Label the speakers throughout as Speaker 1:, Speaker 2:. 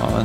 Speaker 1: Ja,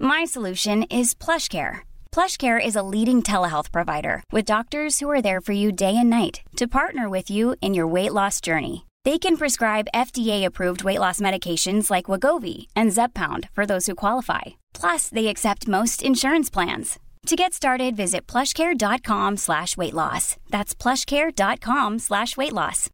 Speaker 2: My solution is PlushCare. PlushCare is a leading telehealth provider with doctors who are there for you day and night to partner with you in your weight loss journey. They can prescribe FDA-approved weight loss medications like Wagovi and Zepbound for those who qualify. Plus, they accept most insurance plans. To get started, visit plushcare.com slash weight loss. That's plushcare.com slash weight loss.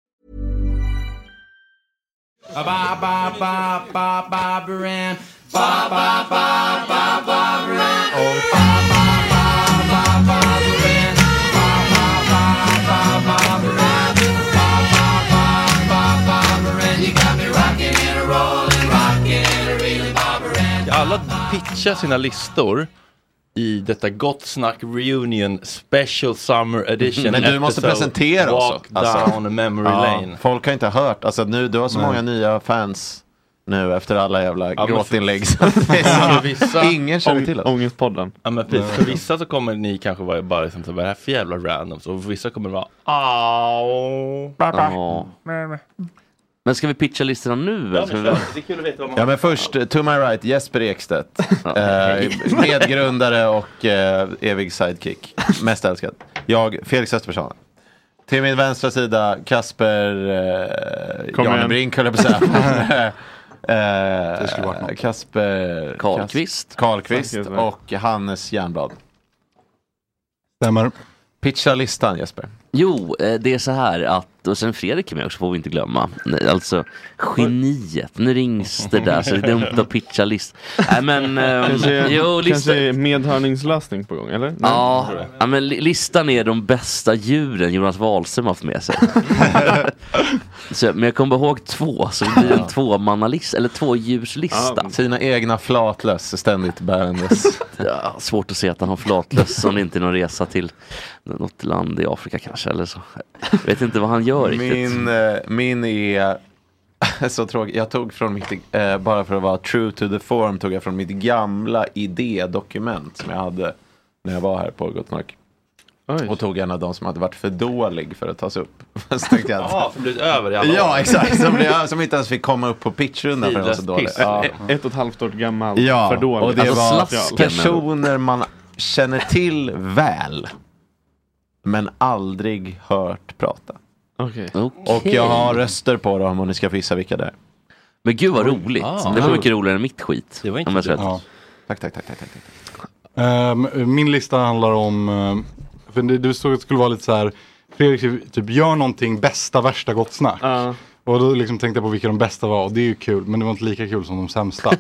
Speaker 1: Alla pitchar sina listor i detta Gott Snack Reunion Special Summer Edition.
Speaker 3: Mm. Men du måste
Speaker 1: episode,
Speaker 3: presentera oss
Speaker 1: Walk
Speaker 3: också. Alltså.
Speaker 1: down memory lane.
Speaker 3: folk har inte hört. Alltså, nu, du har så många nya fans nu efter alla jävla
Speaker 1: men för-
Speaker 3: gråtinlägg. Så det är
Speaker 1: För
Speaker 3: så-
Speaker 1: vissa,
Speaker 3: Ingen känner till oss.
Speaker 4: Ångestpodden.
Speaker 1: ja, men precis, för vissa så kommer ni kanske vara bara liksom, så här, vad är det här för jävla randoms? Och för vissa kommer det vara "Au."
Speaker 4: Ja. Men ska vi pitcha listorna nu? eller ska vi-
Speaker 1: Det är kul att veta vad man
Speaker 3: Ja men först, eh, to my right, Jesper Ekstedt.
Speaker 4: hej.
Speaker 3: Eh, medgrundare och eh, evig sidekick. Mest älskad. Jag, Felix Östbergsson. Till min vänstra sida, Kasper eh,
Speaker 5: Kom igen.
Speaker 3: Janebrink höll jag på att säga. Eh,
Speaker 5: Det skulle varit något.
Speaker 3: Kasper
Speaker 4: Karlqvist.
Speaker 3: Kas- Karlqvist
Speaker 5: Tack, Jesper.
Speaker 3: och Hannes Jernblad.
Speaker 5: Stämmer.
Speaker 3: Pitcha listan Jesper.
Speaker 4: Jo, eh, det är så här att, och sen Fredrik är med också får vi inte glömma. Nej, Alltså, geniet. Nu rings det där så det är dumt att pitcha list. Nej men, ehm,
Speaker 5: Kanske,
Speaker 4: jo, listan.
Speaker 5: kanske medhörningslastning på gång, eller? Nej.
Speaker 4: Ja, ja, men li- listan är de bästa djuren Jonas Wahlström haft med sig. så, men jag kommer bara ihåg två, så det blir en tvåmannalista, eller tvådjurslista.
Speaker 3: Sina egna flatlöss ständigt bärandes.
Speaker 4: Ja, svårt att se att han har flatlöss om det inte är någon resa till något land i Afrika kanske eller så. Jag vet inte vad han gör riktigt.
Speaker 3: Min, eh, min är så tråkig. Jag tog från mitt, eh, bara för att vara true to the form, tog jag från mitt gamla idédokument som jag hade när jag var här på Gotmark.
Speaker 5: Oj.
Speaker 3: Och tog en av de som hade varit för dålig för att tas upp. Så tänkte jag att,
Speaker 1: Jaha, för det blivit över i alla
Speaker 3: ja, exakt. Som, blev- som inte ens fick komma upp på pitchrundan för att den var så dålig.
Speaker 1: Tidlöst piss.
Speaker 3: Ja.
Speaker 5: E- Ett och ett halvt år gammal.
Speaker 3: Ja,
Speaker 5: för dålig.
Speaker 3: och det
Speaker 4: Alltså,
Speaker 3: var
Speaker 4: slasken.
Speaker 3: personer man känner till väl, men aldrig hört prata.
Speaker 5: Okej.
Speaker 4: Okej.
Speaker 3: Och jag har röster på dem och ni ska få gissa vilka det är.
Speaker 4: Men gud vad roligt. det var mycket roligare än mitt skit.
Speaker 1: Det var inte
Speaker 4: om jag ska vara
Speaker 5: Ja.
Speaker 3: Tack, tack, tack. tack, tack. tack.
Speaker 5: Ehm, min lista handlar om, ehm, för det, du såg att det skulle vara lite så här, Fredrik typ gör någonting bästa värsta gott snack. Och då liksom tänkte jag på vilka de bästa var och det är ju kul men det var inte lika kul som de sämsta.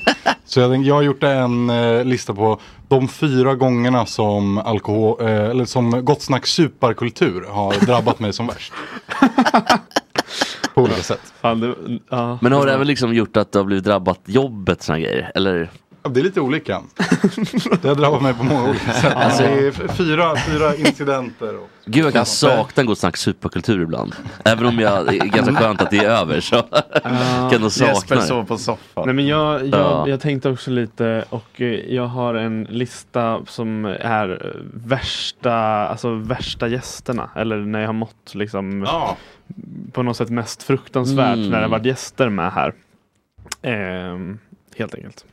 Speaker 5: så jag, tänkte, jag har gjort en eh, lista på de fyra gångerna som, alkohol, eh, eller som gott snack superkultur har drabbat mig som värst. på olika sätt.
Speaker 4: rätt. Men har det även liksom gjort att du har blivit drabbat jobbet såna grejer? Eller?
Speaker 5: Ja, Det är lite olika. Det har drabbat mig på många olika sätt.
Speaker 3: Alltså,
Speaker 5: det är f- fyra, fyra incidenter. Och...
Speaker 4: Gud jag kan sakna en god snack superkultur ibland. Även om jag, det är ganska skönt att det är över så kan jag sakna
Speaker 3: Jesper
Speaker 4: det.
Speaker 3: sov på soffan.
Speaker 6: Nej men jag, jag,
Speaker 4: Ja.
Speaker 6: jag tänkte också lite och eh, jag har en lista som är eh, värsta, alltså värsta gästerna. Eller när jag har mått liksom
Speaker 1: Ja.
Speaker 6: på något sätt mest fruktansvärt
Speaker 4: Mm.
Speaker 6: när det har varit gäster med här. Ehm, helt enkelt.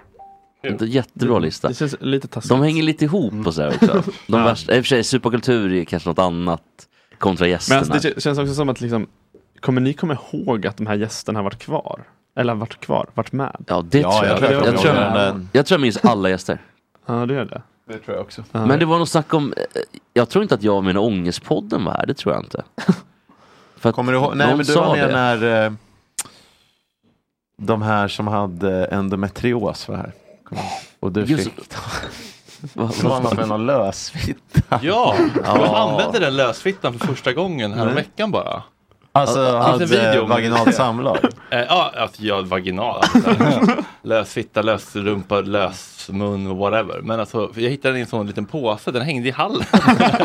Speaker 4: Det är Jättebra lista.
Speaker 6: Det känns lite taskigt.
Speaker 4: De hänger lite ihop och sådär också. De
Speaker 6: Ja.
Speaker 4: värsta, I och för sig, superkultur är kanske något annat kontra
Speaker 6: Men
Speaker 4: gästerna.
Speaker 6: alltså, det kä- känns också som att liksom, kommer ni komma ihåg att de här gästerna har varit kvar? Eller har varit kvar, varit med?
Speaker 4: ja, det
Speaker 3: Ja,
Speaker 4: tror jag.
Speaker 3: jag tror jag
Speaker 4: jag,
Speaker 3: kommer
Speaker 4: tror
Speaker 3: ihåg
Speaker 4: jag,
Speaker 3: den.
Speaker 4: jag tror jag minns alla gäster.
Speaker 6: Ja, det gör det.
Speaker 3: Det tror jag också.
Speaker 6: Ja.
Speaker 4: Men det var något snack om, eh, jag tror inte att jag och mina ångestpodden var här, det tror jag inte. För att
Speaker 3: Kommer du ihåg? Nej,
Speaker 4: någon
Speaker 3: men du
Speaker 4: sa
Speaker 3: var med
Speaker 4: det.
Speaker 3: när eh, de här som hade endometrios var här. Kom igen. Och du
Speaker 4: Just-
Speaker 3: fick
Speaker 4: Vad- vad-
Speaker 3: tillsammans med någon lösfitta.
Speaker 1: Ja, jag använde den lösfittan för första gången häromveckan bara.
Speaker 3: Alltså
Speaker 1: Finns det en
Speaker 3: hade
Speaker 1: video om det?
Speaker 3: vaginalt samlag.
Speaker 1: Eh, Ja, att jag vaginal. alltså. Lösfitta, lösrumpa, lösmun, whatever. Men alltså, jag hittade den i en sån liten påse, den hängde i hallen.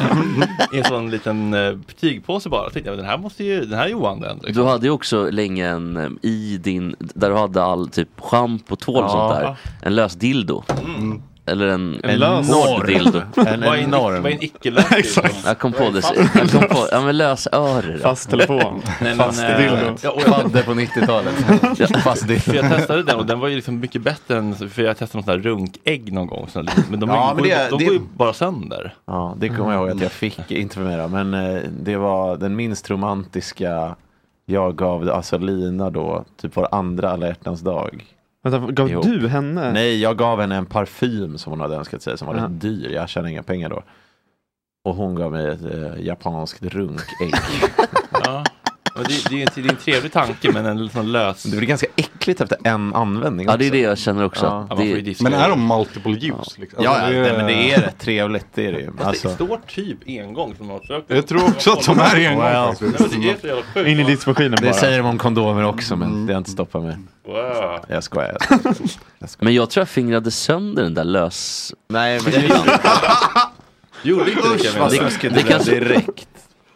Speaker 1: I en sån liten eh, tygpåse bara. Jag tänkte, men den här måste ju, den här är oanvänd.
Speaker 4: Du
Speaker 1: Liksom.
Speaker 4: hade ju också länge en, eh, i din, där du hade all typ schampo och tvål och sånt där, en lös dildo. Eller en, en
Speaker 6: Mm. lös-
Speaker 4: hård dildo.
Speaker 3: En
Speaker 1: Vad är en, ic-
Speaker 3: enorm.
Speaker 1: vad är en icke-lös? Exakt.
Speaker 4: Jag kom på det, jag kom på, ja men lös öre. då.
Speaker 6: Fast telefon.
Speaker 1: Nej, men, eh, ja, och jag,
Speaker 3: Fadde på 90-talet. Fast
Speaker 1: för
Speaker 3: det.
Speaker 1: jag testade den och den var ju liksom mycket bättre än, för jag testade någon sån här runkägg någon gång. Sån här, men de,
Speaker 3: Ja,
Speaker 1: går,
Speaker 3: men
Speaker 1: ju-
Speaker 3: det-
Speaker 1: de
Speaker 3: det-
Speaker 1: går ju bara sönder.
Speaker 3: Ja, det kommer jag ihåg att jag fick, inte för mig då, men eh, det var den minst romantiska jag gav alltså Lina då, typ vår andra alla hjärtans dag.
Speaker 6: Vänta, gav
Speaker 3: Jo.
Speaker 6: du henne?
Speaker 3: Nej, jag gav henne en parfym som hon hade önskat sig som var
Speaker 6: Ja.
Speaker 3: rätt dyr. Jag tjänade inga pengar då. Och hon gav mig ett eh, japanskt runkägg.
Speaker 1: Ja. Men det, det, är ju en, det är en trevlig tanke men en sån lös...
Speaker 3: Det blir ganska äckligt efter en användning
Speaker 4: Ja
Speaker 3: också.
Speaker 4: det är det jag känner också.
Speaker 3: Ja.
Speaker 4: att
Speaker 1: Ja, man får ju
Speaker 4: det,
Speaker 1: diska
Speaker 5: Men
Speaker 1: det.
Speaker 5: är de multiple use? Liksom?
Speaker 3: Ja,
Speaker 5: Alltså,
Speaker 3: ja nej, men det är rätt trevligt. Det är det ju.
Speaker 1: Fast
Speaker 3: Alltså,
Speaker 1: det står typ engång som man söker.
Speaker 5: Jag tror också att de är en gång
Speaker 3: Wow.
Speaker 5: faktiskt.
Speaker 1: Nej, men det är så jävla sjukt.
Speaker 6: In i diskmaskinen bara.
Speaker 3: det Mm. säger de om kondomer också, men det har inte stoppat mig.
Speaker 1: Wow.
Speaker 3: Jag skojar. Jag skojar.
Speaker 4: Men jag tror jag fingrade sönder den där lös...
Speaker 3: Nej, men det,
Speaker 1: Gjorde inte det Kevin?
Speaker 3: det, det,
Speaker 4: det kanske-
Speaker 3: direkt.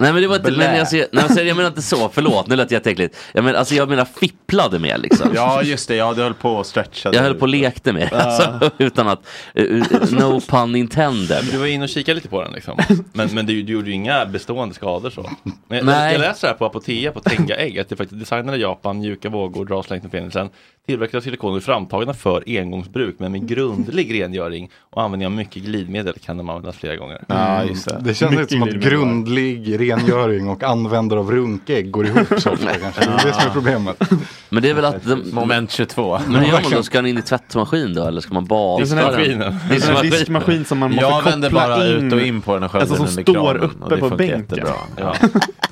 Speaker 4: Nej men det var inte,
Speaker 3: Blä.
Speaker 4: men jag, ser, nej, alltså, jag menar inte så, förlåt nu lät jag jätteäckligt. Jag menar, alltså, jag menar fipplade med liksom.
Speaker 3: Ja, just det. Ja, du höll på och stretchade.
Speaker 4: Jag höll på och lekte med det, alltså, utan att, eh, eh, no pun intended.
Speaker 1: Du var inne och kikade lite på den liksom. Men, men du, du gjorde ju inga bestående skador så. Men jag,
Speaker 4: Nej.
Speaker 1: jag läste det här på Apotea på Tenga-ägg att det faktiskt designade i Japan, mjuka vågor dras längs med penisen. Tillverkade av silikon och är framtagna för engångsbruk men med grundlig rengöring och användning av mycket glidmedel kan de användas flera gånger.
Speaker 3: Ja, just det.
Speaker 5: Det känns lite som att grundlig rengöring och användare av runkägg går ihop så ofta kanske. Det är det som är problemet.
Speaker 4: Men det är väl att, de, men,
Speaker 3: Moment 22.
Speaker 4: men hur gör man då? Ska den in i tvättmaskin då eller ska man bada?
Speaker 1: Det är maskinen.
Speaker 6: Det är en diskmaskin som man måste
Speaker 3: Jag
Speaker 6: koppla
Speaker 3: vänder bara
Speaker 6: in.
Speaker 3: ut och in på den och sköljer
Speaker 6: Alltså, som
Speaker 3: den under
Speaker 6: står
Speaker 3: kranen,
Speaker 6: uppe
Speaker 3: och det
Speaker 6: på
Speaker 3: funkar
Speaker 6: bänken.
Speaker 3: jättebra.
Speaker 1: Ja.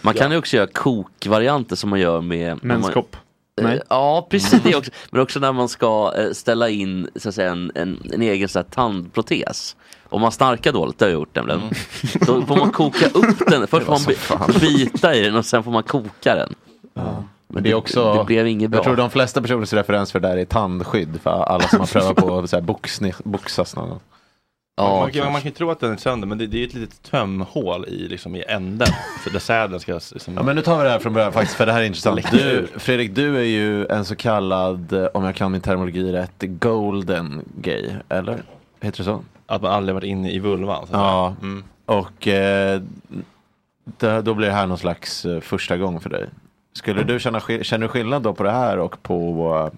Speaker 4: Man kan ju också göra kokvarianter som man gör med när man-
Speaker 6: Menskopp. Nej.
Speaker 4: Eh, Ja, precis det också. Men också när man ska eh, ställa in så att säga, en, en, en egen så här, tandprotes. Om man snarkar dåligt, det har jag gjort nämligen.
Speaker 3: Mm.
Speaker 4: Då får man koka upp den. Först får man bi- bita i den och sen får man koka den. Men
Speaker 3: Det är också,
Speaker 4: det blev inget bra.
Speaker 3: jag tror de flesta personers referens för det där är tandskydd för alla som har prövat på så här boxni, boxas någon gång.
Speaker 4: ja,
Speaker 1: man, kan, man kan ju tro att den är sönder men det, det är ju ett litet tömhål i, liksom, i änden. För där säden ska... Liksom,
Speaker 3: Ja, men nu tar vi det här från början faktiskt, för det här är intressant. Du, Fredrik, du är ju en så kallad, eh, om jag kan min terminologi rätt, golden gay, eller? Heter det så?
Speaker 1: Att man aldrig varit inne i vulvan. Så att
Speaker 3: Ja.
Speaker 1: säga. Mm.
Speaker 3: Och eh, det, då blir det här någon slags eh, första gång för dig. Skulle du känna, skill- känner du skillnad då på det här och på eh,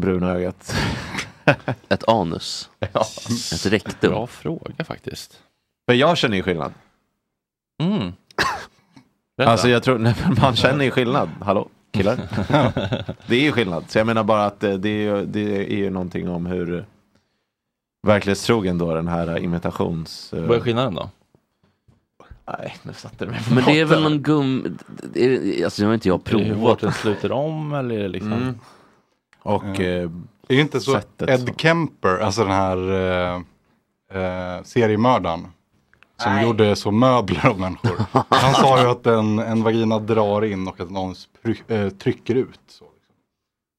Speaker 3: bruna ögat?
Speaker 4: ett anus.
Speaker 3: Ja.
Speaker 4: Ett rektum.
Speaker 1: Bra fråga faktiskt.
Speaker 3: För jag känner ju skillnad.
Speaker 1: Mm. Berätta.
Speaker 3: Alltså jag tror, nej, men man känner ju skillnad. Hallå, killar? det är ju skillnad. Så jag menar bara att eh, det är ju, det är ju någonting om hur verklighetstrogen då den här eh, imitations... eh,
Speaker 1: Vad är skillnaden då?
Speaker 3: Nej, nu satte du mig på
Speaker 4: Men det är väl
Speaker 3: botten.
Speaker 4: någon gum... är det- Alltså nu har inte jag
Speaker 1: Hur
Speaker 4: provat.
Speaker 1: vårt den sluter om eller är det liksom?
Speaker 3: Mm. Och eh,
Speaker 5: Det är ju inte så
Speaker 3: Sättet
Speaker 5: Ed
Speaker 3: så.
Speaker 5: Kemper, alltså den här eh, eh, seriemördaren. Som gjorde så möbler av människor. Han sa ju att en, en vagina drar in och att en anus pry- eh, trycker ut. Så. liksom.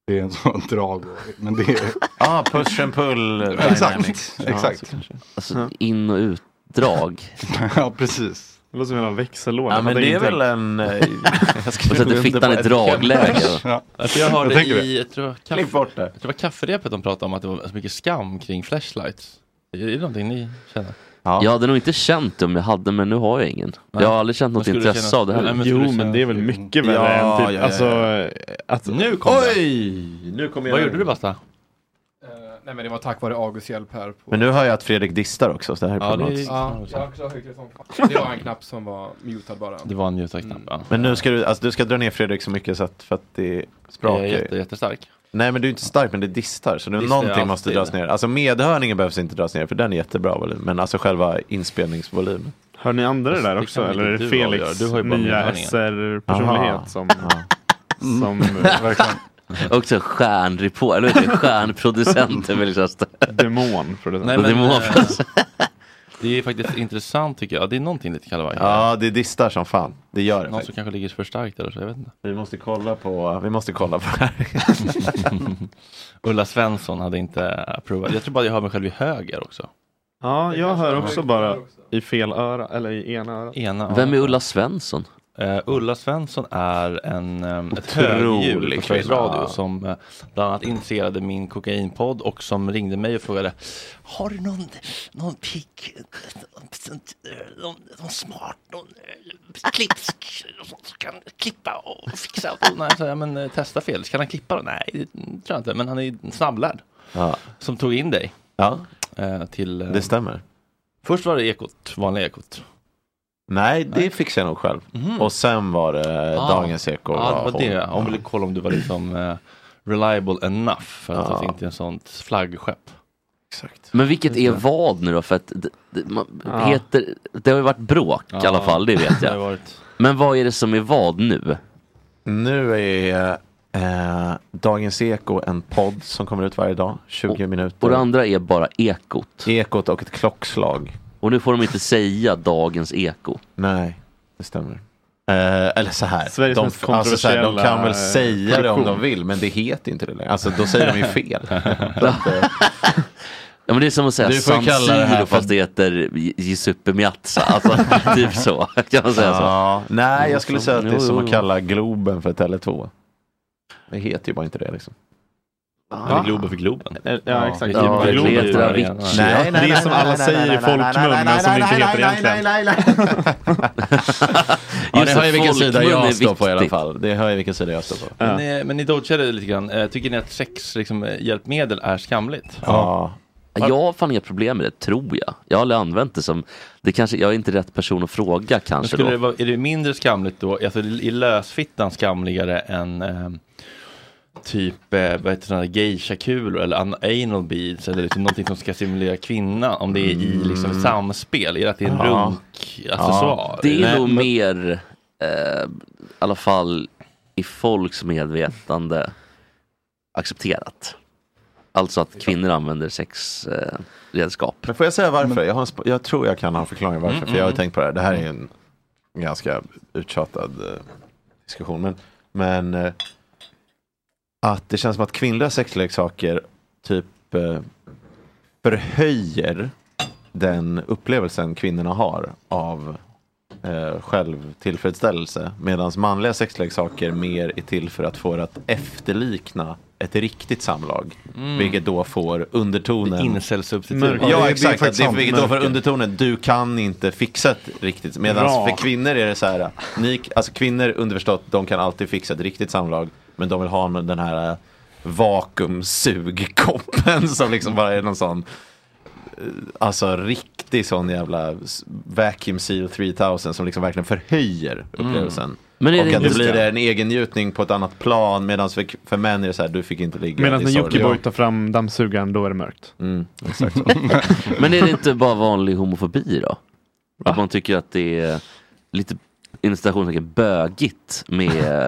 Speaker 5: Det är en sån drag. och- Men det är,
Speaker 3: ah, push and pull dynamics.
Speaker 5: exakt,
Speaker 3: Ja, så
Speaker 5: exakt.
Speaker 3: kanske.
Speaker 4: Alltså in och utdrag.
Speaker 5: Ja, precis.
Speaker 6: Det låter som en jävla växellåda.
Speaker 3: Ja, men
Speaker 6: Hade
Speaker 3: det är
Speaker 6: ingenting.
Speaker 3: väl en... eh, jag
Speaker 4: Och
Speaker 3: skriver
Speaker 4: sätter
Speaker 3: under
Speaker 4: fittan
Speaker 3: på
Speaker 4: i
Speaker 3: Ed
Speaker 4: dragläge.
Speaker 3: Kemper.
Speaker 5: Ja.
Speaker 1: Alltså jag hörde
Speaker 5: Jag tänker
Speaker 1: i, jag tror, det var kaffe,
Speaker 3: Klipp bort det.
Speaker 1: jag tror det var kafferepet de pratade om att det var så mycket skam kring flashlights. Är det någonting ni känner?
Speaker 4: Jag hade nog inte känt det om jag hade, men nu har jag ingen. Jag har aldrig känt något
Speaker 1: skulle
Speaker 4: intresse
Speaker 1: kännas-
Speaker 4: av det här.
Speaker 1: Nej, men skulle
Speaker 6: Jo
Speaker 1: du
Speaker 6: men
Speaker 1: säga-
Speaker 6: det är väl mycket värre
Speaker 3: Ja,
Speaker 6: än typ,
Speaker 3: ja, ja,
Speaker 6: alltså,
Speaker 3: ja.
Speaker 6: att,
Speaker 1: Nu kom
Speaker 3: Oj! Nu kommer
Speaker 1: det!
Speaker 3: jag...
Speaker 1: Vad gjorde du Basta?
Speaker 7: nej men det var tack vare August hjälp här. På...
Speaker 3: Men nu hör jag att Fredrik distar också, så det här är
Speaker 1: Ja, det,
Speaker 3: problematiskt.
Speaker 7: Ja, jag har också högt som fan. Det var en knapp som var mutad bara.
Speaker 1: det var en mute-knapp. Ja.
Speaker 3: Men nu ska du, alltså, du ska dra ner Fredrik så mycket så att, för att det
Speaker 1: Jag
Speaker 3: sprakar
Speaker 1: är
Speaker 3: ju.
Speaker 1: jätte, jättestark.
Speaker 3: Nej men du är inte stark men det distar så nu,
Speaker 1: Distar
Speaker 3: någonting
Speaker 1: alltid.
Speaker 3: måste dras ner. Alltså medhörningen behövs inte dras ner för den är jättebra volym. Men alltså själva inspelningsvolymen.
Speaker 6: hör ni andra det där
Speaker 1: Det
Speaker 6: också?
Speaker 1: kan väl
Speaker 6: Eller är
Speaker 1: inte
Speaker 6: det
Speaker 1: du avgöra.
Speaker 6: Felix
Speaker 1: Du har ju bara
Speaker 6: nya
Speaker 1: medhörningar.
Speaker 3: Aha. Mm.
Speaker 6: SR-personlighet som, som eh,
Speaker 5: Verkligen.
Speaker 4: Också stjärnreport, eller vad heter det? stjärnproducenten vill jag säga.
Speaker 6: demon? För det.
Speaker 1: Nej,
Speaker 4: Det
Speaker 1: men,
Speaker 4: må man
Speaker 1: eh, det är faktiskt intressant tycker jag. Det är någonting lite kalabajs.
Speaker 3: Ja det distar som fan. Det gör det
Speaker 1: Någon som
Speaker 3: faktiskt.
Speaker 1: kanske ligger för starkt eller så, jag vet inte.
Speaker 3: Vi måste kolla på, vi måste kolla på det här.
Speaker 1: Ulla Svensson hade inte provat. Jag tror bara jag hör mig själv i höger också.
Speaker 6: Ja, jag hör också bara i fel öra, eller i ena örat.
Speaker 1: Ena
Speaker 4: Vem är
Speaker 1: örat.
Speaker 4: Ulla Svensson?
Speaker 1: Eh, Ulla Svensson är en, um, ett
Speaker 3: Otrolig
Speaker 1: högdjur på Sveriges
Speaker 3: kvinna.
Speaker 1: Radio som eh, bland annat initierade min kokainpodd och som ringde mig och frågade Har du någon, någon pigg, någon, någon, någon smart, någon eh, klipsk någon som kan klippa och fixa? Och, nej, så, men eh, testa Felix, kan han klippa då? Nej, det tror jag inte, men han är snabblärd.
Speaker 3: Ja,
Speaker 1: Som tog in dig
Speaker 3: ja
Speaker 1: eh, till... eh,
Speaker 3: det stämmer.
Speaker 1: först var det Ekot, vanliga Ekot.
Speaker 3: Nej det fixar jag nog själv. Och sen var det
Speaker 1: Ah.
Speaker 3: Dagens Eko.
Speaker 1: Mhm. Ja, det var
Speaker 3: hon.
Speaker 1: det. Hon ville kolla om du var liksom eh, reliable enough för att
Speaker 3: Ja.
Speaker 1: det inte är en sånt flaggskepp.
Speaker 3: Exakt.
Speaker 4: Men vilket är vad nu då? För att det, det, man,
Speaker 6: Ja.
Speaker 4: heter, det har ju varit bråk i alla fall, det vet
Speaker 1: Det har
Speaker 4: jag.
Speaker 1: varit
Speaker 4: Men vad är det som är vad nu?
Speaker 3: Nu är eh, Dagens Eko en podd som kommer ut varje dag, 20 minuter.
Speaker 4: Och det andra är bara ekot.
Speaker 3: Ekot och ett klockslag.
Speaker 4: Och nu får de inte säga dagens eko.
Speaker 3: Nej, det stämmer. Eh, eller så här.
Speaker 6: Sveriges
Speaker 3: de,
Speaker 6: mest
Speaker 3: alltså så här, de kan väl
Speaker 6: kontroversiella,
Speaker 3: säga det om
Speaker 6: produktion.
Speaker 3: de vill, men det heter ju inte det längre. Alltså då säger de ju fel. Så att, eh,
Speaker 4: Ja men det är som att säga
Speaker 3: Du får
Speaker 4: San
Speaker 3: ju kalla det här
Speaker 4: Siro
Speaker 3: för-
Speaker 4: fast det heter J- Giuseppe Miazza. Alltså typ så. Kan man säga
Speaker 3: Ja,
Speaker 4: så?
Speaker 3: nej, jag skulle
Speaker 4: Så-
Speaker 3: säga att det är
Speaker 4: jo,
Speaker 3: som
Speaker 4: jo,
Speaker 3: att
Speaker 4: jo.
Speaker 3: kalla Globen för Tele2. Det heter ju bara inte det liksom.
Speaker 1: Eller Globen för Globen.
Speaker 6: Eh, Ja, exakt.
Speaker 1: Ja,
Speaker 6: Globen.
Speaker 1: Globen är ju
Speaker 4: Petra
Speaker 1: bara en-
Speaker 4: Ricci.
Speaker 7: Det är
Speaker 3: Nej, nej, nej,
Speaker 7: som
Speaker 3: nej,
Speaker 7: alla
Speaker 3: nej,
Speaker 7: säger
Speaker 3: nej,
Speaker 7: i
Speaker 3: nej,
Speaker 7: folkmun,
Speaker 3: nej,
Speaker 7: men
Speaker 3: nej, nej,
Speaker 7: som
Speaker 3: nej,
Speaker 7: inte
Speaker 3: nej,
Speaker 7: heter
Speaker 3: nej,
Speaker 7: egentligen.
Speaker 3: nej, nej, nej. Ja,
Speaker 4: Just
Speaker 3: det hör ju vilken
Speaker 4: folkmun
Speaker 3: sida
Speaker 4: är
Speaker 3: jag står på i alla
Speaker 4: viktigt.
Speaker 3: fall. Det hör ju vilken sida jag står på.
Speaker 6: Ja.
Speaker 1: Men, eh, men ni dodgade det lite grann. Eh, Tycker ni att sex liksom, eh, hjälpmedel är skamligt?
Speaker 3: Ja.
Speaker 4: Jag har fan inga problem med det, tror jag. Jag har aldrig använt det som, det kanske, jag är inte rätt person att fråga
Speaker 1: Men
Speaker 4: kanske
Speaker 1: skulle
Speaker 4: då.
Speaker 1: det vara, är det mindre skamligt då? Alltså är lösfittan skamligare än eh, typ eh, vad heter det, geisha-kulor eller an- anal beads eller liksom någonting som ska simulera kvinna om det är i liksom samspel? Är det att det är en
Speaker 3: Ja.
Speaker 1: runk-accessoar?
Speaker 4: Det är
Speaker 3: Nej,
Speaker 4: nog
Speaker 3: men-
Speaker 4: mer, eh, i alla fall i folks medvetande, accepterat. Alltså att kvinnor använder sexredskap. Eh, redskap.
Speaker 3: Men får jag säga varför? Jag, har en sp- jag tror jag kan ha en förklaring varför. för jag har ju tänkt på det här. Det här är en ganska uttjatad eh, diskussion. Men, men eh, att det känns som att kvinnliga sexleksaker typ eh, förhöjer den upplevelsen kvinnorna har av eh, självtillfredsställelse. Medan manliga sexleksaker mer är till för att få det att efterlikna ett riktigt samlag. Vilket då får undertonen
Speaker 1: Incel-substitut.
Speaker 6: Men-
Speaker 3: Ja,
Speaker 5: Ja, det är
Speaker 3: exakt,
Speaker 5: faktiskt
Speaker 3: att det,
Speaker 5: sant,
Speaker 3: vilket då för
Speaker 5: men-
Speaker 3: undertonen, du kan inte fixa det riktigt. Medan
Speaker 6: Bra.
Speaker 3: för kvinnor är det så här, ni, alltså kvinnor underförstått, de kan alltid fixa ett riktigt samlag. Men de vill ha med den här eh, vakuumsugkoppen som liksom bara är någon sån, eh, alltså riktig sån jävla s- vacuum seal 3000 som liksom verkligen förhöjer upplevelsen.
Speaker 4: Men är
Speaker 3: Och
Speaker 4: det
Speaker 3: att det
Speaker 4: inte-
Speaker 3: blir en egennjutning på ett annat plan medan för, för män är det så här, du fick inte ligga.
Speaker 6: Medan
Speaker 3: det är
Speaker 6: när
Speaker 3: sorgligt.
Speaker 6: Jockiboi tar fram dammsugaren, då är det mörkt.
Speaker 3: Mm, exakt så.
Speaker 4: Men är det inte bara vanlig homofobi då? Att man tycker att det är lite inom citationstecken bögigt med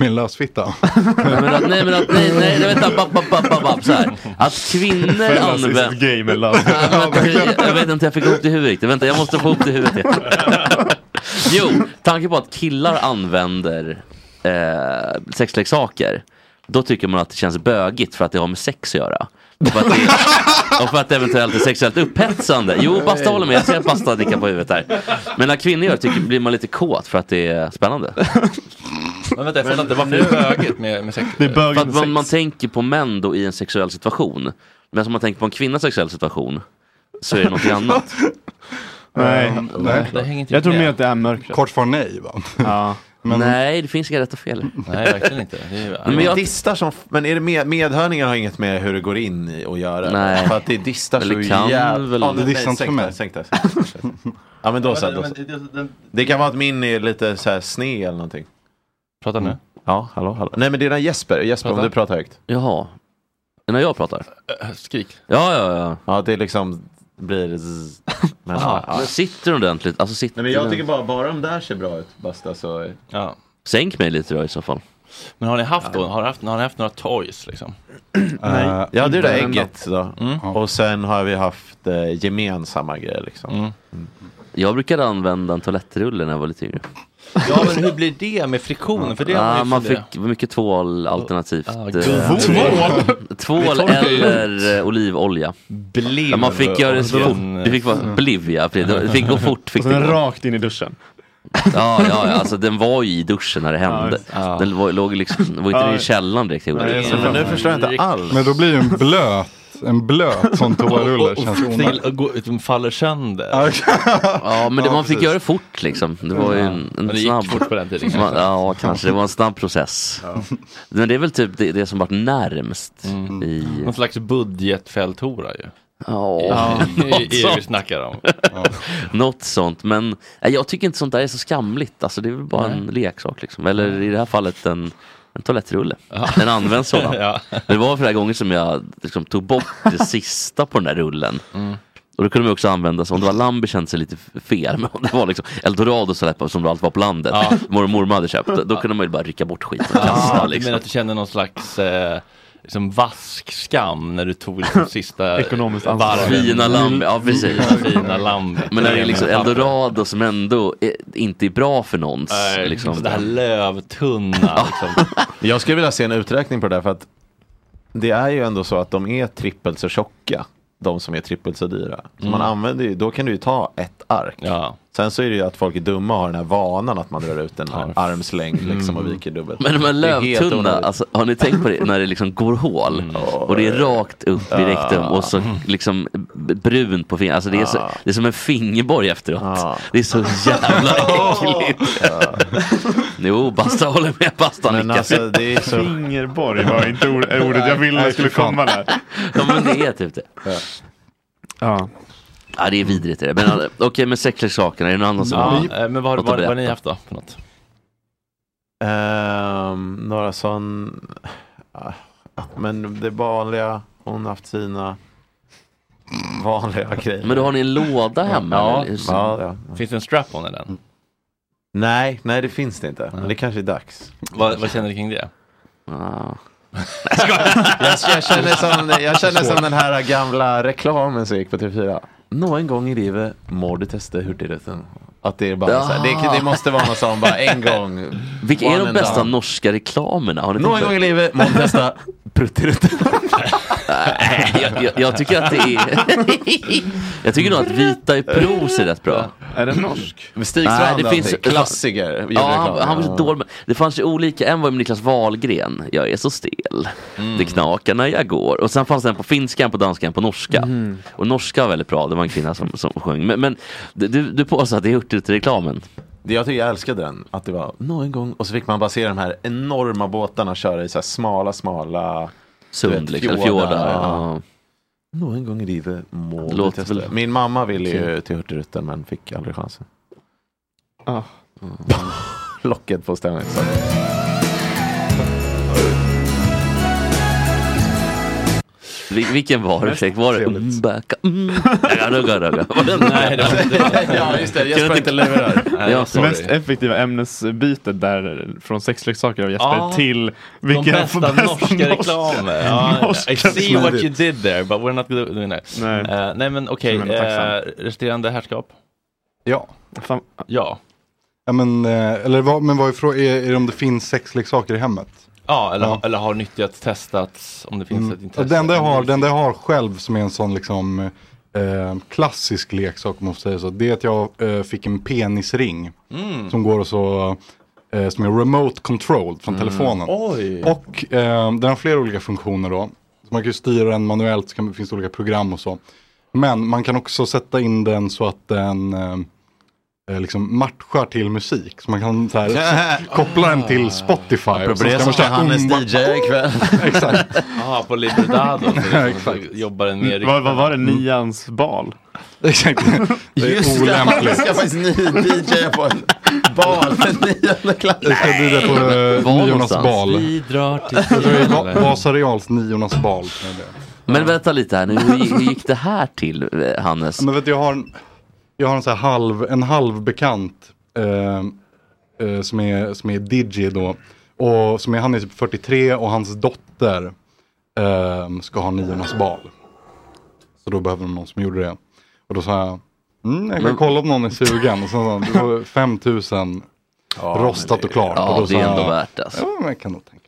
Speaker 5: Min lösfitta.
Speaker 4: Nej men att, nej men att, nej nej, nej vänta, bapp, bapp, bapp, bapp, bapp, så här. Att kvinnor använder...
Speaker 5: gay med lös.
Speaker 4: Ja, men precis. Jag vet inte om jag fick ihop det i huvudet riktigt. Vänta, jag måste få ihop det i huvudet igen. Jo, tanken på att killar använder eh, sexleksaker. Då tycker man att det känns bögigt för att det har med sex att göra. Och för att det, och för att det eventuellt är sexuellt upphetsande. Jo, Basta håller med. Jag ser att Basta nickar på huvudet här. Men när kvinnor gör det tycker, blir man lite kåt för att det är spännande.
Speaker 1: Men vänta, jag fattar inte. Varför är det bögigt med, med sex?
Speaker 5: Det är
Speaker 4: För
Speaker 5: bögen
Speaker 4: att man, man tänker på män då i en sexuell situation. Men om man tänker på en kvinnas sexuell situation så är det något annat.
Speaker 6: Nej.
Speaker 5: Nej.
Speaker 1: Det hänger inte
Speaker 6: Jag tror
Speaker 1: med.
Speaker 6: mer att det är mörkret.
Speaker 5: Kort svar nej va?
Speaker 6: Ja.
Speaker 5: Men-
Speaker 4: Nej, det finns inga rätta fel.
Speaker 1: Nej, verkligen inte. Det är ju,
Speaker 4: Men
Speaker 3: Men
Speaker 4: jag-
Speaker 3: distar som, f- men är det med, medhörningar har inget med hur det går in i att göra?
Speaker 4: Nej.
Speaker 3: För att det distar så
Speaker 4: Eller kan
Speaker 3: jävla...
Speaker 4: väl-
Speaker 3: Ja,
Speaker 5: Det dissar inte för mig.
Speaker 3: Sänk det, sänk det, sänk det. Ja men då så, då så. Det kan vara att min är lite så här sned eller någonting.
Speaker 1: Prata nu.
Speaker 3: Ja, hallå, hallå. Nej men det är den här Jesper, Jesper om
Speaker 1: Prata.
Speaker 3: du pratar högt.
Speaker 4: Jaha. När jag pratar?
Speaker 1: Äh, Skrik.
Speaker 4: Ja, ja, ja.
Speaker 3: Ja det är liksom blir zzz. Men, ja, ja.
Speaker 4: Men sitter du ordentligt? Alltså sitter
Speaker 3: Nej men jag tycker bara, bara de där ser bra ut Basta så.
Speaker 1: Ja.
Speaker 4: Sänk mig lite då i så fall.
Speaker 1: Men har ni haft, då, har ni haft, har ni haft några toys liksom?
Speaker 3: Nej, jag hade det där
Speaker 1: inte en
Speaker 3: ägget då.
Speaker 1: Mm.
Speaker 3: Och sen har vi haft eh, gemensamma grejer liksom.
Speaker 1: Mm.
Speaker 4: Jag brukade använda en toalettrulle när jag var lite yngre.
Speaker 1: Ja men hur blir det med friktionen? För det har
Speaker 4: ah,
Speaker 1: man
Speaker 4: man
Speaker 1: ju funderat.
Speaker 4: fick mycket tvål alternativt.
Speaker 1: Ah,
Speaker 4: eh,
Speaker 1: gud.
Speaker 4: tvål
Speaker 1: Tvål? Det tar ju ut.
Speaker 4: eller eh, olivolja.
Speaker 1: Bliv.
Speaker 4: Ja, man fick göra det så
Speaker 1: Och
Speaker 4: fort.
Speaker 1: sen-
Speaker 4: Det fick vara
Speaker 1: Mm.
Speaker 4: bliv ja. precis. Det fick gå fort. Fick
Speaker 6: och sen
Speaker 4: det gå.
Speaker 6: rakt in i duschen.
Speaker 4: Ja, ja, ja, alltså den var ju i duschen när det hände. Den var, låg liksom, var inte
Speaker 5: Ja.
Speaker 4: i källaren direkt. jag gjorde
Speaker 5: Nej,
Speaker 4: det.
Speaker 5: så- men nu förstår jag inte
Speaker 1: alls.
Speaker 5: Men då blir ju en blöt, en blöt sån
Speaker 1: Och,
Speaker 5: toarulle
Speaker 1: och,
Speaker 5: känns ju
Speaker 1: och,
Speaker 5: onödigt.
Speaker 1: till- och, gå- de faller sönder.
Speaker 4: Ja, men det,
Speaker 1: Ja,
Speaker 4: man fick
Speaker 1: precis.
Speaker 4: göra det fort liksom. Det var ju
Speaker 1: Ja.
Speaker 4: en,
Speaker 1: Men
Speaker 4: en
Speaker 1: det gick
Speaker 4: snabb...
Speaker 1: fort på den tiden,
Speaker 4: Man,
Speaker 1: kanske.
Speaker 4: ja, kanske. Det var en snabb process. Men det är väl typ det, det som varit närmst
Speaker 1: Mm.
Speaker 4: i...
Speaker 1: Någon slags budgetfälthora ju.
Speaker 4: Ja,
Speaker 1: I- i- i- i-
Speaker 4: något
Speaker 1: vi snackar om.
Speaker 4: sånt. Något sånt, men nej, jag tycker inte sånt där är så skamligt. Alltså, det är väl bara en leksak liksom. Eller i det här fallet en, en toalettrulle. En använd sådan.
Speaker 1: Ja.
Speaker 4: Det var flera gånger som jag liksom, tog bort det sista på den där rullen.
Speaker 1: Mm.
Speaker 4: Och då kunde man ju också använda, som det var Lambi kändes det lite fel, men om det var liksom Eldorado som det- som det alltid var på landet,
Speaker 1: Ja.
Speaker 4: mormor och mormor hade köpt, då kunde man ju bara rycka bort skiten och kasta.
Speaker 1: Ah, Du
Speaker 4: liksom.
Speaker 1: menar att du kände någon slags eh, liksom vaskskam när du tog liksom sista
Speaker 4: Ekonomiskt ansvar.
Speaker 1: varven?
Speaker 4: Fina lamb, ja, precis.
Speaker 1: Mm. Fina lamb.
Speaker 4: Men när det är liksom Eldorado som ändå är, inte är bra för någons.
Speaker 1: Nej,
Speaker 4: liksom.
Speaker 1: Eh, det här lövtunna. liksom.
Speaker 3: Jag skulle vilja se en uträkning på det där för att det är ju ändå så att de är trippelt så tjocka. De som är trippelt så dyra. Så
Speaker 1: Mm.
Speaker 3: man använder ju, då kan du ju ta ett ark. Sen så är det ju att folk är dumma och har den här vanan att man drar ut en armslängd
Speaker 1: Mm.
Speaker 3: liksom och viker dubbelt.
Speaker 4: Men de här
Speaker 3: Det är helt
Speaker 4: lövtunna,
Speaker 3: onödigt. Mm.
Speaker 4: alltså, har ni tänkt på det när det liksom går hål och det är rakt upp i rektum och
Speaker 3: Ah.
Speaker 4: så liksom b- brunt på fingret. Alltså, det, är så, det är som en fingerborg efteråt.
Speaker 3: Ah.
Speaker 4: Det är så jävla äckligt. Jo, Basta håller med. Basta
Speaker 3: Men
Speaker 4: nickar.
Speaker 3: alltså, det är så-
Speaker 6: Fingerborg var inte or- ordet jag ville
Speaker 4: Nej,
Speaker 6: skulle
Speaker 4: fy fan.
Speaker 6: komma där.
Speaker 4: Ja, men det är typ det.
Speaker 6: Ja.
Speaker 4: Ja, det är vidrigt. Är det. Men, alltså, okej, men sexleksakerna, är det någon annan som
Speaker 1: Ja, eh, men vad har-
Speaker 4: något att
Speaker 1: vad- vad har ni
Speaker 4: berätta?
Speaker 1: haft då? För något?
Speaker 3: Ehm, några sån... Ah, Men det vanliga, hon har haft sina vanliga grejer.
Speaker 4: Men då har ni en låda hemma?
Speaker 3: Mm. Ja,
Speaker 4: eller? Hur ser-
Speaker 3: ja, ja.
Speaker 1: Finns det en strap-on i den?
Speaker 3: Nej, nej det finns det inte. Men det kanske är dags.
Speaker 1: Vad, vad känner ni kring det?
Speaker 4: Ah.
Speaker 3: jag, jag, känner som, jag känner som den här gamla reklamen som gick på TV4. Någon gång i livet må du testa hurtigrätten. Att det är bara så här, det, det måste vara något sånt bara en gång.
Speaker 4: Vilka
Speaker 3: One
Speaker 4: är de
Speaker 3: and
Speaker 4: bästa
Speaker 3: done.
Speaker 4: norska reklamerna? Har ni
Speaker 3: Någon
Speaker 4: tänkt på
Speaker 3: gång
Speaker 4: det?
Speaker 3: i livet må du testa pruttirutten.
Speaker 4: Nej, jag, jag, jag tycker att det är... jag tycker nog att Vita i pros är rätt bra.
Speaker 6: Är den norsk?
Speaker 3: Stig
Speaker 4: Nej,
Speaker 3: Strand
Speaker 4: det
Speaker 3: alltid.
Speaker 4: finns-
Speaker 3: klassiker.
Speaker 4: Ja, han, han var så
Speaker 3: Ja.
Speaker 4: dålig. med- Det fanns ju olika. En var ju Niklas Wahlgren. Jag är så stel.
Speaker 3: Mm.
Speaker 4: Det knakar när jag går. Och sen fanns den på finska, en på danska, en på norska.
Speaker 3: Mm.
Speaker 4: Och norska var väldigt bra. Det var en kvinna som, som sjöng. Men, men du, du påstår att det är Hurtigruten-reklamen.
Speaker 3: Det jag tycker jag älskade den, att det var någon gång och så fick man bara se de här enorma båtarna köra i så här smala, smala
Speaker 4: Sund,
Speaker 3: du vet,
Speaker 4: liksom, eller fjordar, ja.
Speaker 3: Någon gång i livet må
Speaker 4: Det
Speaker 3: du
Speaker 4: låter
Speaker 3: testa.
Speaker 4: väl-
Speaker 3: Min mamma ville ju
Speaker 4: Kul.
Speaker 3: till Hurtigruten men fick aldrig chansen. Mm.
Speaker 6: Ah.
Speaker 3: Locket på stämningen. så.
Speaker 4: Vil- vilken var det? Var det Umbaka? Mm. Rugga, rugga. Var det-
Speaker 1: Nej, det var inte-
Speaker 3: Ja, just det. Jag
Speaker 4: Kan
Speaker 3: ska
Speaker 4: du
Speaker 3: inte lura dig.
Speaker 1: Nej,
Speaker 4: Ja,
Speaker 6: Det
Speaker 1: sorry.
Speaker 6: mest effektiva ämnesbytet där från sexleksaker av Jesper
Speaker 1: Ja.
Speaker 6: till
Speaker 1: De
Speaker 6: vilken
Speaker 1: bästa norska reklamer. Ja, I see what you did there, but we're not doing that.
Speaker 6: Nej.
Speaker 1: Eh, nej men okej,
Speaker 6: Som en tacksam.
Speaker 1: eh, resterande herrskap?
Speaker 5: Ja.
Speaker 6: Fan,
Speaker 1: Ja.
Speaker 5: Ja, men, eh, eller vad, men vad är frågan, är, är det om det finns sexleksaker i hemmet?
Speaker 1: Ja, eller,
Speaker 5: Ja. Mm.
Speaker 1: eller har nyttjats, testats, om det finns ett intresse.
Speaker 5: Den där jag har, den där jag har själv som är en sån liksom eh, klassisk leksak om man får säga så. Det är att jag eh, fick en penisring. Som går och så, eh, som är remote controlled från
Speaker 3: Mm.
Speaker 5: telefonen.
Speaker 1: Oj!
Speaker 5: Och eh, den har flera olika funktioner då. Så man kan ju styra den manuellt, så kan, finns det olika program och så. Men man kan också sätta in den så att den eh, eh, liksom matchar till musik. Så man kan så här, koppla den till Spotify. och
Speaker 3: Apropå
Speaker 5: så
Speaker 3: det
Speaker 5: ska
Speaker 3: så
Speaker 5: man
Speaker 3: ska
Speaker 5: köra
Speaker 3: Hannes
Speaker 5: umba-
Speaker 3: DJ ikväll.
Speaker 5: Exakt.
Speaker 1: Ja, på Libertado. så
Speaker 5: Ja,
Speaker 1: liksom,
Speaker 5: exakt.
Speaker 1: jobbar en mer
Speaker 6: vad, vad var det?
Speaker 3: Mm.
Speaker 6: Nians bal?
Speaker 5: Exakt. Det
Speaker 3: Just
Speaker 5: är
Speaker 3: det, Hannes
Speaker 5: olämpligt.
Speaker 3: ska faktiskt ny DJ på en bal för nionde klass.
Speaker 5: Jag ska bjuda på
Speaker 4: Var
Speaker 5: eh, niornas
Speaker 4: någonstans?
Speaker 5: bal.
Speaker 1: Vi drar
Speaker 5: Jag tror det är Va-
Speaker 1: till
Speaker 5: Vasa Reals niornas bal. tror jag det är.
Speaker 4: Men vänta lite här nu, hur, gi- hur gick det här till eh, Hannes?
Speaker 5: Men vet du, jag har en, jag har en, så här halv, en halvbekant eh, eh, som, är, som är DJ då. Och som är, han är typ 43 och hans dotter ehm, ska ha niornas bal. Så då behöver de någon som gjorde det. Och då sa jag, mm, jag kan
Speaker 3: Men-
Speaker 5: kolla om någon är sugen. Och sen sa han, det var 5000
Speaker 3: Ja, men
Speaker 5: rostat
Speaker 3: det-
Speaker 5: och klart.
Speaker 4: ja,
Speaker 5: och då
Speaker 4: det
Speaker 5: sa
Speaker 4: är
Speaker 5: jag,
Speaker 4: ändå värt alltså.
Speaker 5: Ja, men jag kan nog tänka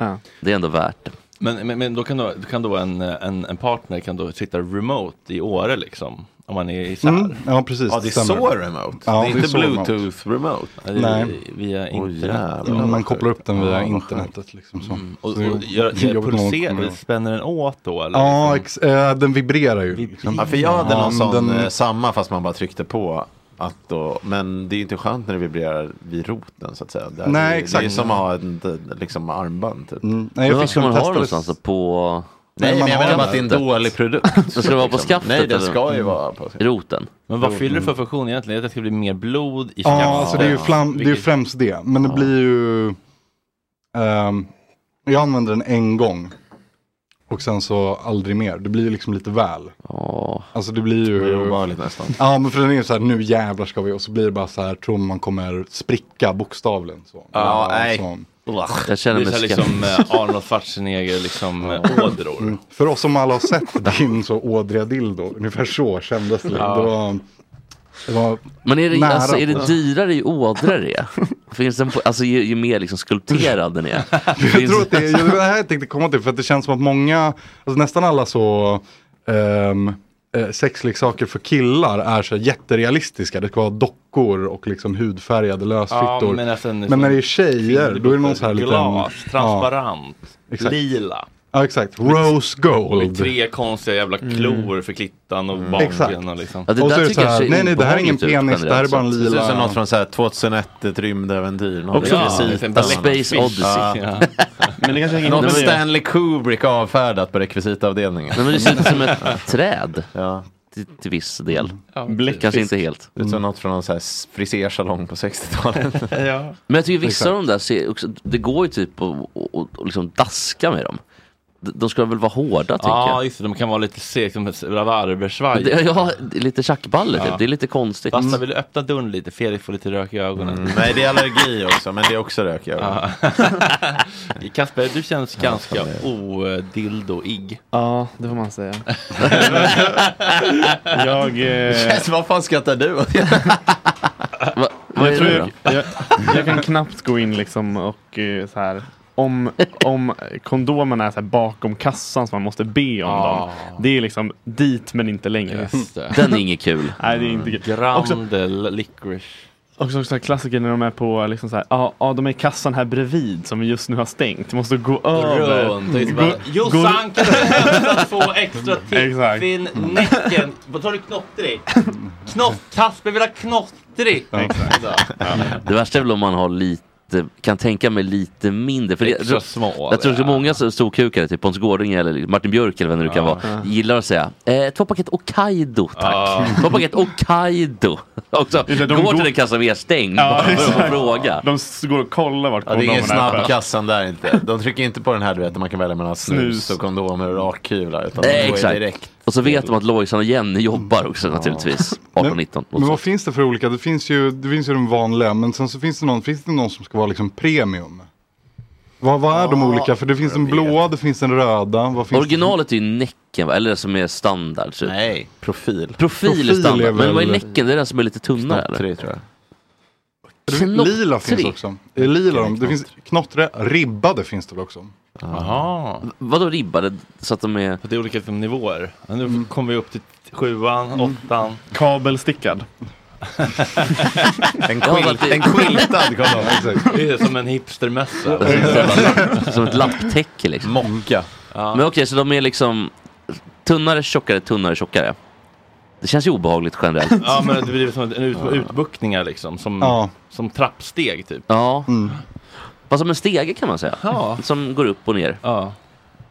Speaker 6: mig.
Speaker 4: Det är ändå värt det.
Speaker 1: Men, men, men då kan, då, kan då en, en, en partner kan då sitta remote i Åre liksom? Om man är isär.
Speaker 5: Mm, ja, precis,
Speaker 3: Ja, det är det stämmer. så remote. Det är inte Bluetooth remote.
Speaker 5: Nej.
Speaker 1: Via
Speaker 5: Åh,
Speaker 1: internet.
Speaker 5: jävlar, Man vad kopplar sjukt. upp den via
Speaker 1: vad skönt.
Speaker 5: internetet, liksom, så.
Speaker 1: Mm. Och, och
Speaker 5: Så det är
Speaker 1: gör, gör,
Speaker 5: jobbigt när man kommer
Speaker 1: pulserar,
Speaker 5: ihåg.
Speaker 1: spänner den åt då? Eller? Liksom.
Speaker 5: Ja, ex- eh, den vibrerar ju. Liksom.
Speaker 3: Ja, för jag hade någon
Speaker 5: men
Speaker 3: sån
Speaker 5: den-
Speaker 3: eh, samma fast man bara tryckte på. Att då, men det är ju inte skönt när det vibrerar vid roten så att säga. Det, här-
Speaker 5: Nej,
Speaker 3: det, Det är
Speaker 5: exakt.
Speaker 3: ju som att ha en liksom, armband typ.
Speaker 5: nej, jag
Speaker 4: men vad
Speaker 5: fick
Speaker 4: ska
Speaker 5: dem
Speaker 4: man ha det
Speaker 5: testade-
Speaker 4: någonstans? då? På...
Speaker 3: Nej, men jag menar bara att det är en dålig produkt.
Speaker 4: Då ska det vara på
Speaker 3: Liksom.
Speaker 4: skaftet?
Speaker 3: Nej, det
Speaker 4: eller?
Speaker 3: ska ju vara på skaftet.
Speaker 4: Roten.
Speaker 1: Men
Speaker 3: Mm.
Speaker 1: vad fyller det för funktion egentligen? Att det ska bli mer blod i
Speaker 5: Ja,
Speaker 1: skaftet?
Speaker 5: alltså det är ju flam, det är ju främst det. Men det blir ju... ehm, jag använder den en gång. Och sen så aldrig mer. Det blir ju liksom lite väl. Alltså det blir ju...
Speaker 3: Det blir obehagligt nästan.
Speaker 5: Ja, men för den är ju så här, nu jävlar ska vi. Och så blir det bara så här, tror man kommer spricka bokstavligen. Så.
Speaker 1: Ja, nej.
Speaker 5: Uah.
Speaker 4: Jag känner
Speaker 1: det är
Speaker 4: mig
Speaker 1: så här
Speaker 4: skeptisk.
Speaker 1: liksom eh, Arnold Schwarzenegger, liksom eh, ådror.
Speaker 5: Mm. För oss som alla har sett din så ådriga dildo, ungefär så kändes det.
Speaker 4: Ja.
Speaker 5: Det, var, det var
Speaker 4: Men är det,
Speaker 5: nära
Speaker 4: alltså, är det
Speaker 5: på-
Speaker 4: dyrare ju ådrare är? Finns den på, alltså ju, ju mer liksom skulpterad den är. Finns-
Speaker 5: jag tror att det, jag, det här jag tänkte komma till för att det känns som att många, alltså nästan alla så ehm, eh, sexleksaker för killar är så här jätterealistiska. Det ska vara dockor och liksom hudfärgade lösfittor.
Speaker 1: Ja, men alltså en-
Speaker 5: när det är tjejer då är det någon så här liten...
Speaker 1: Glas, transparent,
Speaker 5: Exakt.
Speaker 1: lila.
Speaker 5: Ja exakt, rose
Speaker 1: Med
Speaker 5: gold.
Speaker 1: tre konstiga jävla
Speaker 4: Mm.
Speaker 1: klor för klittan och baken. Och, liksom.
Speaker 5: Ja, det Och där så är det tycker jag så här, är nej, nej, det här är ingen obehagligt, penis, typ, det här är bara en
Speaker 3: Det ser ut som
Speaker 5: lila-
Speaker 3: något från så här 2001, ett rymdäventyr. något
Speaker 5: Också-
Speaker 3: med
Speaker 5: Ja,
Speaker 3: rekvisita
Speaker 5: en
Speaker 3: eller något.
Speaker 5: Space Odyssey.
Speaker 3: Ja.
Speaker 4: Men det kanske hänger
Speaker 3: Något
Speaker 4: ihop med det.
Speaker 3: Stanley Kubrick avfärdat på rekvisitavdelningen.
Speaker 4: Nej, men det ser ut som ett träd.
Speaker 3: Ja.
Speaker 4: Till, till viss del.
Speaker 3: Ja,
Speaker 4: Kanske inte helt.
Speaker 3: Det är som något från någon så här frisersalong på 60-talet.
Speaker 1: ja.
Speaker 4: Men jag tycker vissa av de där, ser också, det går ju typ att och, och, och liksom daska med dem. De de ska väl vara hårda tycker
Speaker 1: Ja,
Speaker 4: jag.
Speaker 1: just det. De kan vara lite seg som ett rabarbersvaj.
Speaker 4: Det- Mm. ja, det är lite tjackballer typ.
Speaker 1: Ja.
Speaker 4: Det är lite konstigt.
Speaker 1: Basta, vill du öppna dörren lite? Felix får lite rök i ögonen.
Speaker 4: Mm.
Speaker 3: Nej, det är allergi också, men det är också rök i ögonen.
Speaker 1: Kasper, du känns ganska odildoig.
Speaker 6: Ja, det får man säga. jag... Eh...
Speaker 3: Yes, vad fan skrattar du åt?
Speaker 4: vad är
Speaker 6: jag, tror
Speaker 4: det
Speaker 6: jag, jag, jag kan knappt gå in liksom och eh, så här. Om, om kondomerna är så här bakom kassan så man måste be om
Speaker 1: Ah.
Speaker 6: dem. Det är liksom dit men inte längre.
Speaker 1: Just det.
Speaker 4: Den är inget kul.
Speaker 6: Nej, det är inte kul. Också-
Speaker 1: Grandel, licorice.
Speaker 6: Också, också klassiker när de är på, liksom så här, ja, ja, de är i kassan här bredvid som vi just nu har stängt. Måste gå över.
Speaker 1: Runt. och liksom bara, Jossan, kan du hämta två extra tippfin, näcken? Vad tar du knottdrick? Knott, Kasper vill ha knottdrick! Så.
Speaker 4: Det värsta är väl om man har lite, kan tänka mig lite mindre. För
Speaker 1: Extra
Speaker 4: jag,
Speaker 1: små,
Speaker 4: jag tror att många så- storkukare, typ Pontus Gårding eller Martin Björk eller vem det nu kan
Speaker 6: Ah.
Speaker 1: Ja.
Speaker 4: vara, gillar att säga eh, två paket Hokkaido tack.
Speaker 1: Ah.
Speaker 4: Två paket Hokkaido. Också,
Speaker 6: Just det, de
Speaker 4: går till
Speaker 6: går-
Speaker 4: den kassan vi är stängd
Speaker 6: Ja,
Speaker 4: bara för att
Speaker 6: exakt.
Speaker 4: fråga.
Speaker 6: De s- går och kollar vart
Speaker 3: Ja, det är ingen
Speaker 6: kondomerna
Speaker 3: snabb
Speaker 6: på.
Speaker 3: kassan där inte. De trycker inte på den här du vet, där man kan välja mellan snus
Speaker 6: Snus.
Speaker 3: och kondomer och rakhyvlar. Utan
Speaker 4: Eh,
Speaker 3: de går ju direkt.
Speaker 4: exakt. Och så vet de att Lojsan och Jenny jobbar också naturligtvis. 18-19.
Speaker 5: Men vad finns det för olika? Det finns ju, det finns ju de vanliga, men sen så finns det någon, finns det någon som ska vara liksom premium? Vad, vad är de olika? För det finns den blåa, det finns den röda. Vad finns
Speaker 4: Originalet är ju näcken va? Eller det som är standard. Typ.
Speaker 3: Nej, profil.
Speaker 4: Profil, är
Speaker 5: Profil
Speaker 4: standard.
Speaker 5: är
Speaker 4: Men vad är
Speaker 5: väl-
Speaker 4: näcken? Det är den som är lite tunnare eller?
Speaker 3: tror jag.
Speaker 5: det? Det finns- Lila finns
Speaker 4: knottrig.
Speaker 5: också. Det är lila de. Det finns knottre, ribbade finns det väl också?
Speaker 1: Jaha.
Speaker 4: Vadå ribbade? Så att de är...
Speaker 1: Det är olika liksom, nivåer. Men Nu
Speaker 5: Mm.
Speaker 1: kommer vi upp till sjuan, åttan.
Speaker 6: Kabelstickad.
Speaker 3: En,
Speaker 4: Ja, quilt- det- en
Speaker 3: quiltad
Speaker 1: Det är som en hipstermössa.
Speaker 4: Som ett lapptäcke liksom.
Speaker 3: Mocka.
Speaker 4: Men okej, så de är liksom tunnare, tjockare, tunnare, tjockare. Det känns ju obehagligt generellt.
Speaker 1: Ja men det blir som en ut, utbuktningar liksom. Som,
Speaker 4: Ja.
Speaker 1: som trappsteg typ.
Speaker 4: Ja.
Speaker 5: Mm.
Speaker 4: Fast som en stege kan man säga. Som går upp och ner.
Speaker 1: Ja.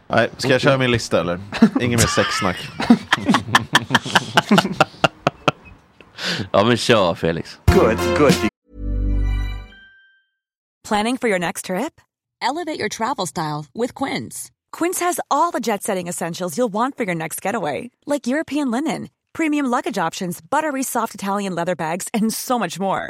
Speaker 3: Nej, ska jag köra min lista eller? Inget mer sexsnack.
Speaker 4: Ja men kör Felix.
Speaker 8: Good, good.
Speaker 9: Planning for your next trip? Elevate your travel style with Quince. Quince has all the jet setting essentials you'll want for your next getaway, like European linen, premium luggage options, buttery soft Italian leather bags, and so much more.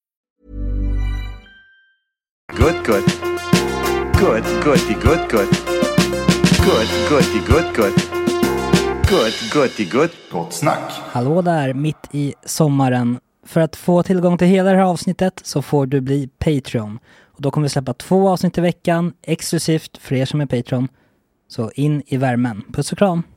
Speaker 10: Good, good. Good, goody, good, good. Good, goody, good, good. Good, goody, good. Gott snack.
Speaker 11: Hallå där, mitt i sommaren. För att få tillgång till hela det här avsnittet så får du bli Patreon. Och då kommer vi släppa två avsnitt i veckan, exklusivt för er som är Patreon. Så in i värmen. Puss och kram!